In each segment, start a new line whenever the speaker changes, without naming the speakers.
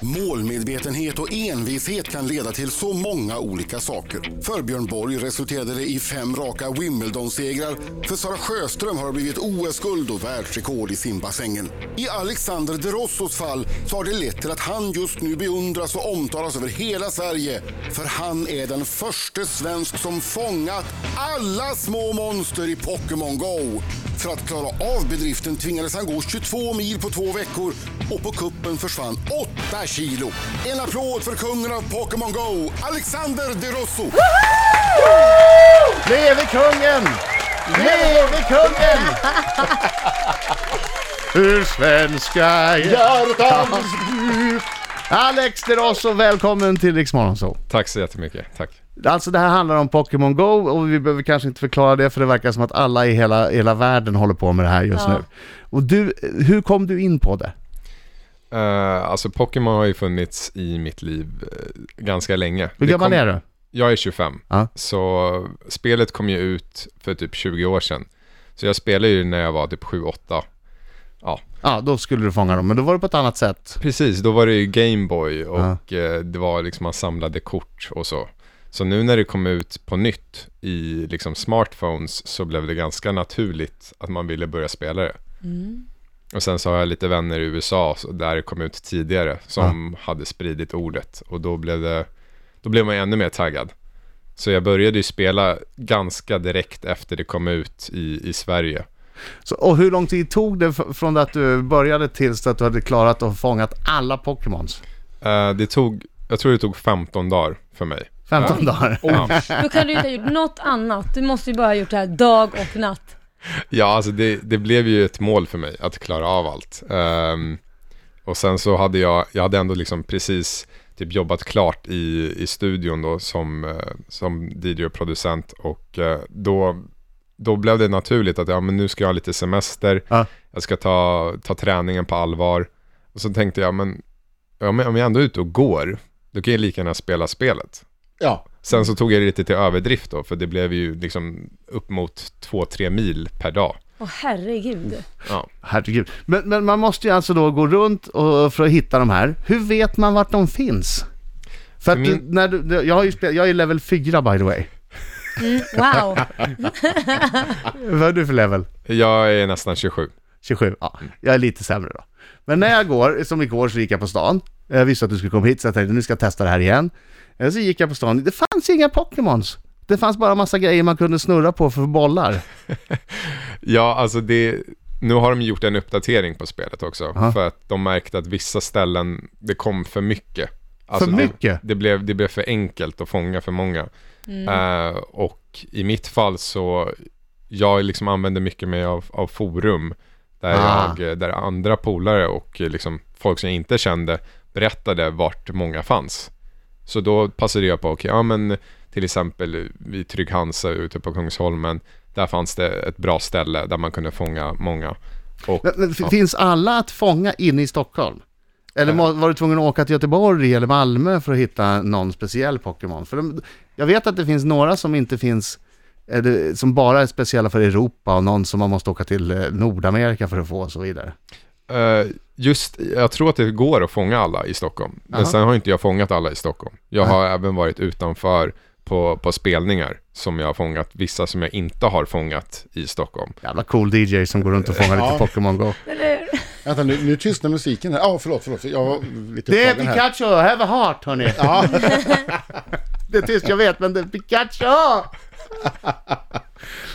Målmedvetenhet och envishet kan leda till så många olika saker. För Björn Borg resulterade det i fem raka Wimbledon-segrar. För Sara Sjöström har det blivit OS-guld och världsrekord i simbassängen. I Alexander De Rossos fall så har det lett till att han just nu beundras och omtalas över hela Sverige. För han är den första svensk som fångat alla små monster i Pokémon Go. För att klara av bedriften tvingades han gå 22 mil på två veckor och på kuppen försvann 8 kilo. En applåd för kungen av Pokémon Go, Alexander De Rosso!
Leve kungen! Leve kungen! Ur svenska hjärtans djup. Alex De Rosso, välkommen till Rix Morgonzoo.
Tack så jättemycket, tack.
Alltså det här handlar om Pokémon Go och vi behöver kanske inte förklara det för det verkar som att alla i hela, hela världen håller på med det här just
Ja.
nu. Och du, hur kom du in på det?
Eh, alltså Pokémon har ju funnits i mitt liv eh, ganska länge.
Hur
Det
gammal
kom-
är du?
Jag är 25,
Ja.
så spelet kom ju ut för typ 20 år sedan. Så jag spelade ju när jag var typ 7-8.
Ja, då skulle du fånga dem, men då var det på ett annat sätt.
Precis, då var det ju Gameboy och eh, det var liksom man samlade kort och så. Så nu när det kom ut på nytt i liksom smartphones så blev det ganska naturligt att man ville börja spela det. Och sen så har jag lite vänner i USA så där det kom ut tidigare som hade spridit ordet och då blev, det, då blev man ännu mer taggad. Så jag började ju spela ganska direkt efter det kom ut i, i Sverige.
Så, och hur lång tid tog det f- från att du började tills att du hade klarat och fångat alla Pokémons?
Eh, det tog, jag tror det tog 15 dagar för mig.
15 dagar?
Ja.
Då kan du ju inte ha gjort något annat. Du måste ju bara ha gjort det här dag och natt.
Ja, alltså det, det blev ju ett mål för mig att klara av allt. Ehm, och sen så hade jag, jag hade ändå liksom precis typ jobbat klart i, i studion då som, eh, som DJ och producent och eh, då, då blev det naturligt att ja, men nu ska jag ha lite semester,
Ja.
jag ska ta, ta träningen på allvar. Och så tänkte jag, men ja, men om jag ändå är ute och går, då kan jag lika gärna spela spelet.
Ja.
Sen så tog jag det lite till överdrift då, för det blev ju liksom upp mot 2-3 mil per dag.
Åh herregud.
Ja.
Herregud. Men, men man måste ju alltså då gå runt och, för att hitta de här. Hur vet man vart de finns? För att
Min-
du, när du, du- jag, har ju spelat, jag är level 4 by the way.
Wow.
Vad är du för level?
Jag är nästan 27.
27? Ja, jag är lite sämre då. Men när jag går, som igår så gick jag på stan. Jag visste att du skulle komma hit så jag tänkte nu ska jag testa det här igen. Eh, Så gick jag på stan, det fanns inga Pokémons. Det fanns bara massa grejer man kunde snurra på för bollar.
Ja, alltså det... Nu har de gjort en uppdatering på spelet också, för att de märkte att vissa ställen, det kom för mycket. Alltså
För mycket?
Det, det, blev, det blev för enkelt att fånga för många. Eh, och i mitt fall så, jag liksom använde mycket mig av, av forum, där,
Ah.
jag, där andra polare och eh, liksom folk som jag inte kände berättade vart många fanns. Så då passade jag på, okej, ja men till exempel vid Trygg Hansa ute på Kungsholmen, där fanns det ett bra ställe där man kunde fånga många. Och,
Men, men, f-
ja.
Finns alla att fånga inne i Stockholm? Eller må- var du tvungen att åka till Göteborg eller Malmö för att hitta någon speciell Pokémon? För de, jag vet att det finns några som inte finns, eller, som bara är speciella för Europa och någon som man måste åka till eh, Nordamerika för att få och så vidare.
Eh, just, jag tror att det går att fånga alla i Stockholm. Men
Aha.
sen har inte jag fångat alla i Stockholm. Jag har även varit utanför på, på spelningar som jag har fångat, vissa som jag inte har fångat i Stockholm.
Jävla cool DJ som går runt och fångar lite
Ja.
Pokémon Go.
Vänta nu, nu tystnar musiken här. Ja, förlåt, förlåt. Jag var lite
Det är
upptagen här.
Pikachu, have a heart hörni!
Ja,
Det är tyst, jag vet, men det är Pikachu!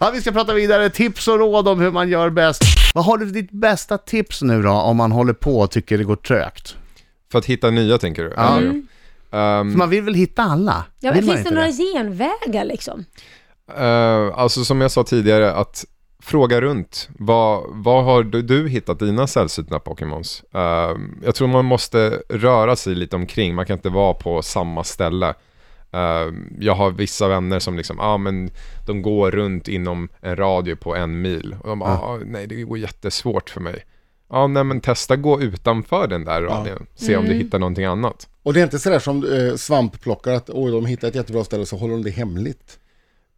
Ja, vi ska prata vidare. Tips och råd om hur man gör bäst. Vad har du för ditt bästa tips nu då, om man håller på och tycker det går trögt?
För att hitta nya tänker du? eller? Ehm,
För man vill väl hitta alla?
Ja, men
vill man
finns det
inte
några genvägar liksom?
Eh, alltså som jag sa tidigare, att fråga runt. Vad, vad har du, du hittat dina sällsynta Pokémons? Eh, jag tror man måste röra sig lite omkring, man kan inte vara på samma ställe. Eh, jag har vissa vänner som liksom, ah, men de går runt inom en radie på en mil. Och de bara, ah, nej det går jättesvårt för mig. Ja, nej men testa gå utanför den där radien. Se om du hittar någonting annat.
och det är inte sådär som eh, svampplockare att oj, de hittar ett jättebra ställe och så håller de det hemligt.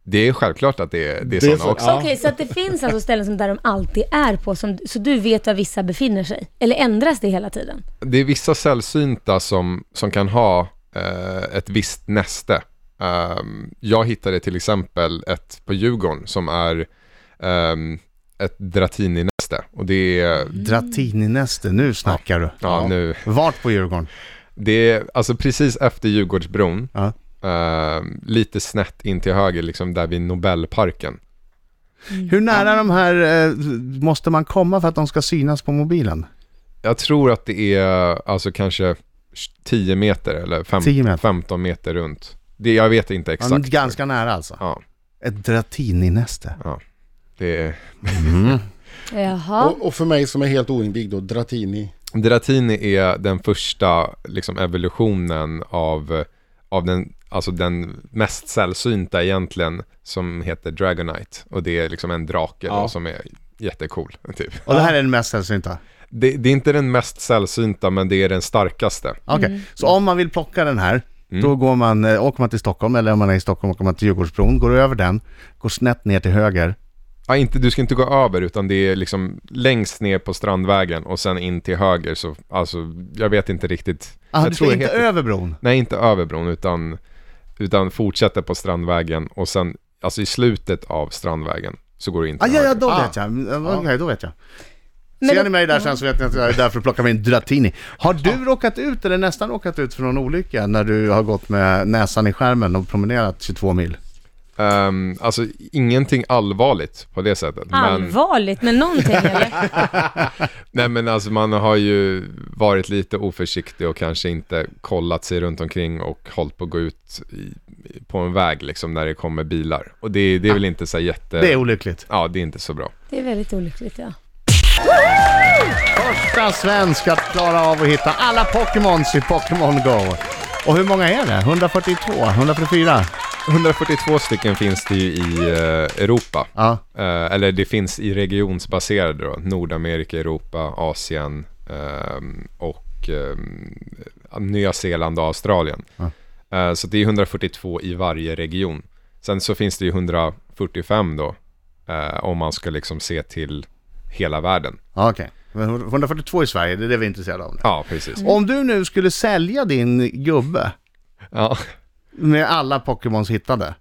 Det är självklart att det är, det är
Det
sådana
är så-
också.
ja.
Okej, så att det finns alltså ställen som där de alltid är på, som, så du vet var vissa befinner sig? Eller ändras det hela tiden?
Det är vissa sällsynta som, som kan ha eh, ett visst näste. Ehm, jag hittade till exempel ett på Djurgården som är ehm, ett Dratini-näste. Och det är,
Dratini-näste, nu snackar du.
ja nu,
Vart på Djurgården?
det är alltså precis efter Djurgårdsbron.
Ja.
Ehm, lite snett in till höger, liksom där vid Nobelparken.
Hur nära de här eh, måste man komma för att de ska synas på mobilen?
Jag tror att det är alltså kanske 10 meter eller fem,
10 meter.
15 meter runt. Det, jag vet inte
Ja, men
Um, exakt.
ganska nära alltså.
Ja,
Ett Dratini-näste.
det är... Mm.
Jaha.
Och, och för mig som är helt oinvigd då, Dratini.
Dratini är den första liksom, evolutionen av, av den, alltså den mest sällsynta egentligen som heter Dragonite. Och det är liksom en drake
Ja.
då, som är jättecool. Typ.
Och det här är den mest sällsynta?
Det, det är inte den mest sällsynta men det är den starkaste.
Okej, så om man vill plocka den här,
Mm.
då går man, eh, åker man till Stockholm, eller om man är i Stockholm åker man till Djurgårdsbron, går över den, går snett ner till höger.
Ja, inte, du ska inte gå över utan det är liksom längst ner på Strandvägen och sen in till höger så alltså jag vet inte riktigt.
Ah,
jag
du ska
det
inte
heter-
över bron?
Nej, inte över bron utan, utan fortsätter på Strandvägen och sen, alltså i slutet av Strandvägen så går du in
Ah,
till
ja, ja,
höger.
då
Ah.
vet jag. Mm, Okej, då vet jag.
Men-
Ser ni mig där sen så vet ni att jag är där för att plocka min Dratini. Har du råkat ut, eller nästan råkat ut för någon olycka, när du har gått med näsan i skärmen och promenerat 22 mil?
Ehm, alltså ingenting allvarligt på det sättet. Men,
Allvarligt, men någonting eller?
nej men alltså man har ju varit lite oförsiktig och kanske inte kollat sig runt omkring och hållit på att gå ut i, på en väg liksom när det kommer bilar. Och det, det är väl inte så här jätte...
Ah. Det är olyckligt.
Ja, det är inte så bra.
Det är väldigt olyckligt ja.
Första svensk att klara av att hitta alla Pokémons i Pokémon Go. Och hur många är det? 142? 144?
142 stycken finns det ju i eh, Europa.
Ja.
Eh, eller det finns i regionsbaserade då, Nordamerika, Europa, Asien ehm, och ehm, Nya Zeeland och Australien. Eh, så det är 142 i varje region. Sen så finns det ju 145 då, eh, om man ska liksom se till hela världen.
Ja, Okej. Men 142 i Sverige, det är det vi är intresserade av nu.
Ja, precis.
Om du nu skulle sälja din gubbe
Ja.
med alla Pokémons hittade,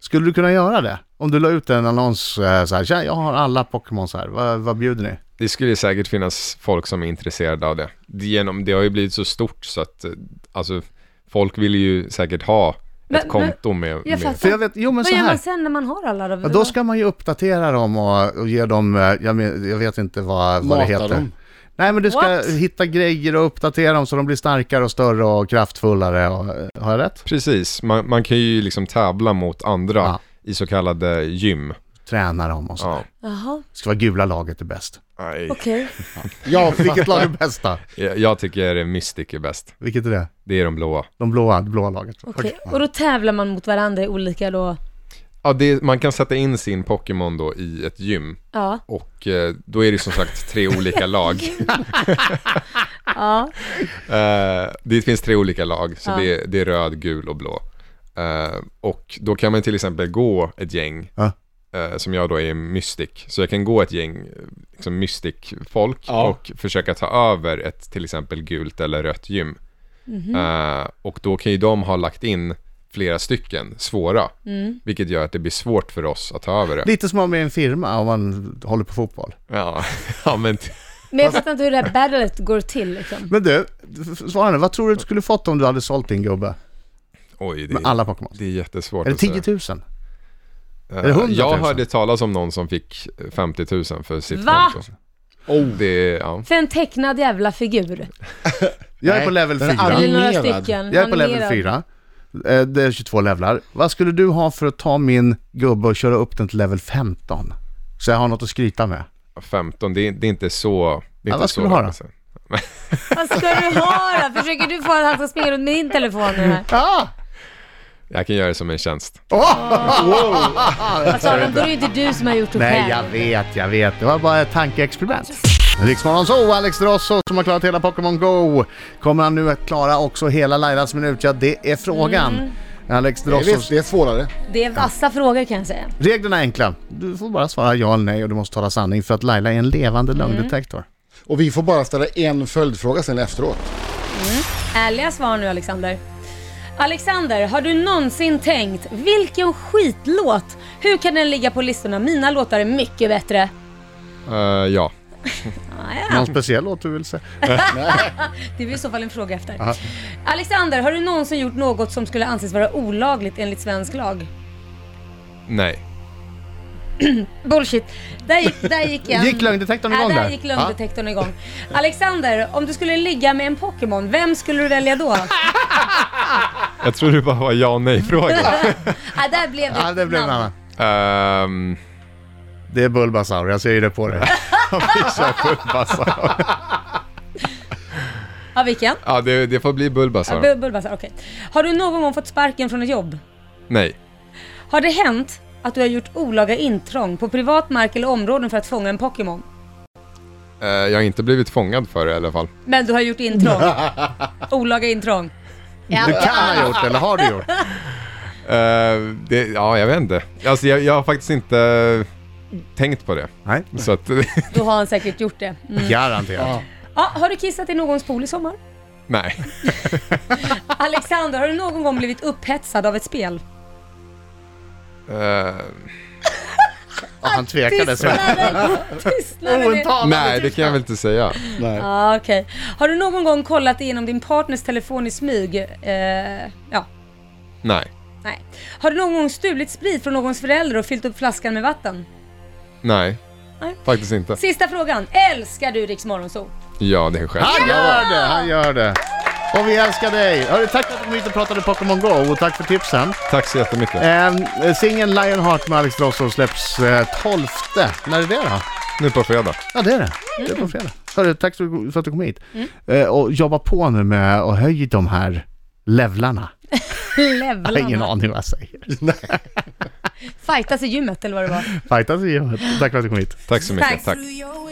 skulle du kunna göra det? Om du la ut en annons eh, så här, "Tja, jag har alla Pokémons här, vad, vad bjuder ni?
Det skulle säkert finnas folk som är intresserade av det. Det Genom, det har ju blivit så stort så att eh, alltså, folk vill ju säkert ha
Men-
ett konto med...
Jag
med
För
fattar.
jag vet, jo men
Vad
så
gör man
här.
sen när man har alla då?
Ja, då ska man ju uppdatera dem och, och ge dem, eh, jag, men, jag vet inte vad, vad det
Mata
heter.
dem.
Nej men du ska
What?
hitta grejer och uppdatera dem så de blir starkare och större och kraftfullare. Och, eh, har jag rätt?
Precis, man, man kan ju liksom tävla mot andra
Ja.
i så kallade gym.
Träna dem och så.
Ja.
Jaha,
Det ska vara gula laget är bäst.
okej.
Ja,
Vilket lag är bäst då?
Jag, jag tycker Mystic är bäst.
Vilket är det?
Det är de blåa.
De blåa, det blåa laget.
okej. Och då tävlar man mot varandra i olika då...
Ja, det, är- man kan sätta in sin Pokémon då i ett gym
Ja.
och eh, då är det som sagt tre olika lag.
ja.
Eh, det finns tre olika lag, så
Ja.
det, är, det är röd, gul och blå. Eh, och då kan man till exempel gå ett gäng,
Ja.
eh, som jag då är mystik. Så jag kan gå ett gäng eh, liksom mystik-folk
Ja.
och försöka ta över ett till exempel gult eller rött gym. Eh, och då kan ju de ha lagt in flera stycken svåra,
Mm.
vilket gör att det blir svårt för oss att ta över det.
Lite som om med en firma om man håller på fotboll.
Ja, ja men t-
Men jag fattar inte hur det här battlet går till liksom.
Men du, f- svara nu. Vad tror du du skulle fått om du hade sålt din gubbe?
oj, det
Med
är,
alla Pokémon?
det är jättesvårt
Är det
att
10
säga.
000?
Eh,
Eller 100 000?
Jag hörde talas om någon som fick 50 000 för sitt
Va?
konto. Oh. Det är, ja.
För en tecknad jävla figur.
Jag är
Nej,
på level
den är
4.
all-
Eller några
Animerad.
stycken.
Jag är på level
Animerad.
4. Eh, Det är 22 levlar. Vad skulle du ha för att ta min gubbe och köra upp den till level 15? Så jag har något att skryta med.
15, det är, det är inte så... Det är
Ja,
inte
vad
så
skulle du ha
länge
då?
sedan.
Vad ska du ha då? Försöker du få att han ska springa runt med din telefon nu här?
Ah!
Jag kan göra det som en tjänst.
Alltså Adam, då är det ju inte du som har gjort det
Nej,
själv.
jag vet, jag vet. Det var bara ett tankeexperiment. Riksmorgon så, Alex Drosso som har klarat hela Pokémon Go. Kommer han nu att klara också hela Lailas minut? Ja, det är frågan. Alex
Det är, visst,
Drossos.
det är svårare.
Det är vassa frågor kan jag säga.
Reglerna är enkla. Du får bara svara ja eller nej och du måste tala sanning för att Laila är en levande lögndetektor.
Och vi får bara ställa en följdfråga sen efteråt.
Ärliga svar nu Alexander. Alexander, har du någonsin tänkt vilken skitlåt? Hur kan den ligga på listorna? Mina låtar är mycket bättre.
Eh, ja.
Ah, ja.
Någon speciell låt du vill säga?
Det blir i så fall en fråga efter. Alexander, har du någonsin gjort något som skulle anses vara olagligt enligt svensk lag?
Nej.
Bullshit. Där gick, där gick en...
Gick lögndetektorn igång
ja, där?
där?
gick lögndetektorn igång. Alexander, om du skulle ligga med en Pokémon, vem skulle du välja då?
Jag tror det bara var ja och nej-fråga.
ja, där blev det
Ja, det
ett
blev en
namn.
annan.
Ehm,
Det är Bulbasaur, jag ser ju det på dig. Vi kör Bulbasaur.
Ja, vilken?
ja, det, det får bli
Ja,
Bulbasaur.
Bu- Bulbasaur, okej. Har du någon gång fått sparken från ett jobb?
nej.
Har det hänt att du har gjort olaga intrång på privat mark eller områden för att fånga en Pokémon?
Eh, jag har inte blivit fångad för det i alla fall.
Men du har gjort intrång. olaga intrång. Ja.
Du kan ha gjort eller har du gjort?
Eh, det, ja, jag vet inte. Alltså, jag, jag har faktiskt inte tänkt på det.
Nej,
Så att,
Då har han säkert gjort det. Mm.
garanterat.
Ja, har du kissat i någons pool i sommar?
nej.
Alexander, har du någon gång blivit upphetsad av ett spel?
Eh,
Ja, han tvekade. Så.
Tystnaden! Tystnaden! är-
nej, det kan jag väl inte säga.
Nej.
Ja, okej. Har du någon gång kollat igenom din partners telefon i smyg? Eh, ja,
Nej.
nej. Har du någon gång stulit sprit från någons förälder och fyllt upp flaskan med vatten?
Nej.
Nej.
Faktiskt inte.
Sista frågan. Älskar du Rix Morgonzoo?
Ja, det är själv.
Han gör det, han gör det. Och vi älskar dig. Hörru, tack för att du kom hit och pratade Pokémon Go och tack för tipsen.
Tack så jättemycket.
Eh, singeln Lionheart med Alex Drosso släpps eh, 12. När är det då? Mm.
Nu på fredag.
Ja, det är det. Det är på fredag. Hörru, tack så- för att du kom hit. Eh, och jobba på nu med att höja de här levlarna. Jag har ingen
Levlarna.
aning vad jag säger.
Fightas i gymmet eller vad det var.
Fightas i gymmet. Tack för att du kom hit.
Tack så mycket.
Tack.
Tack.
through your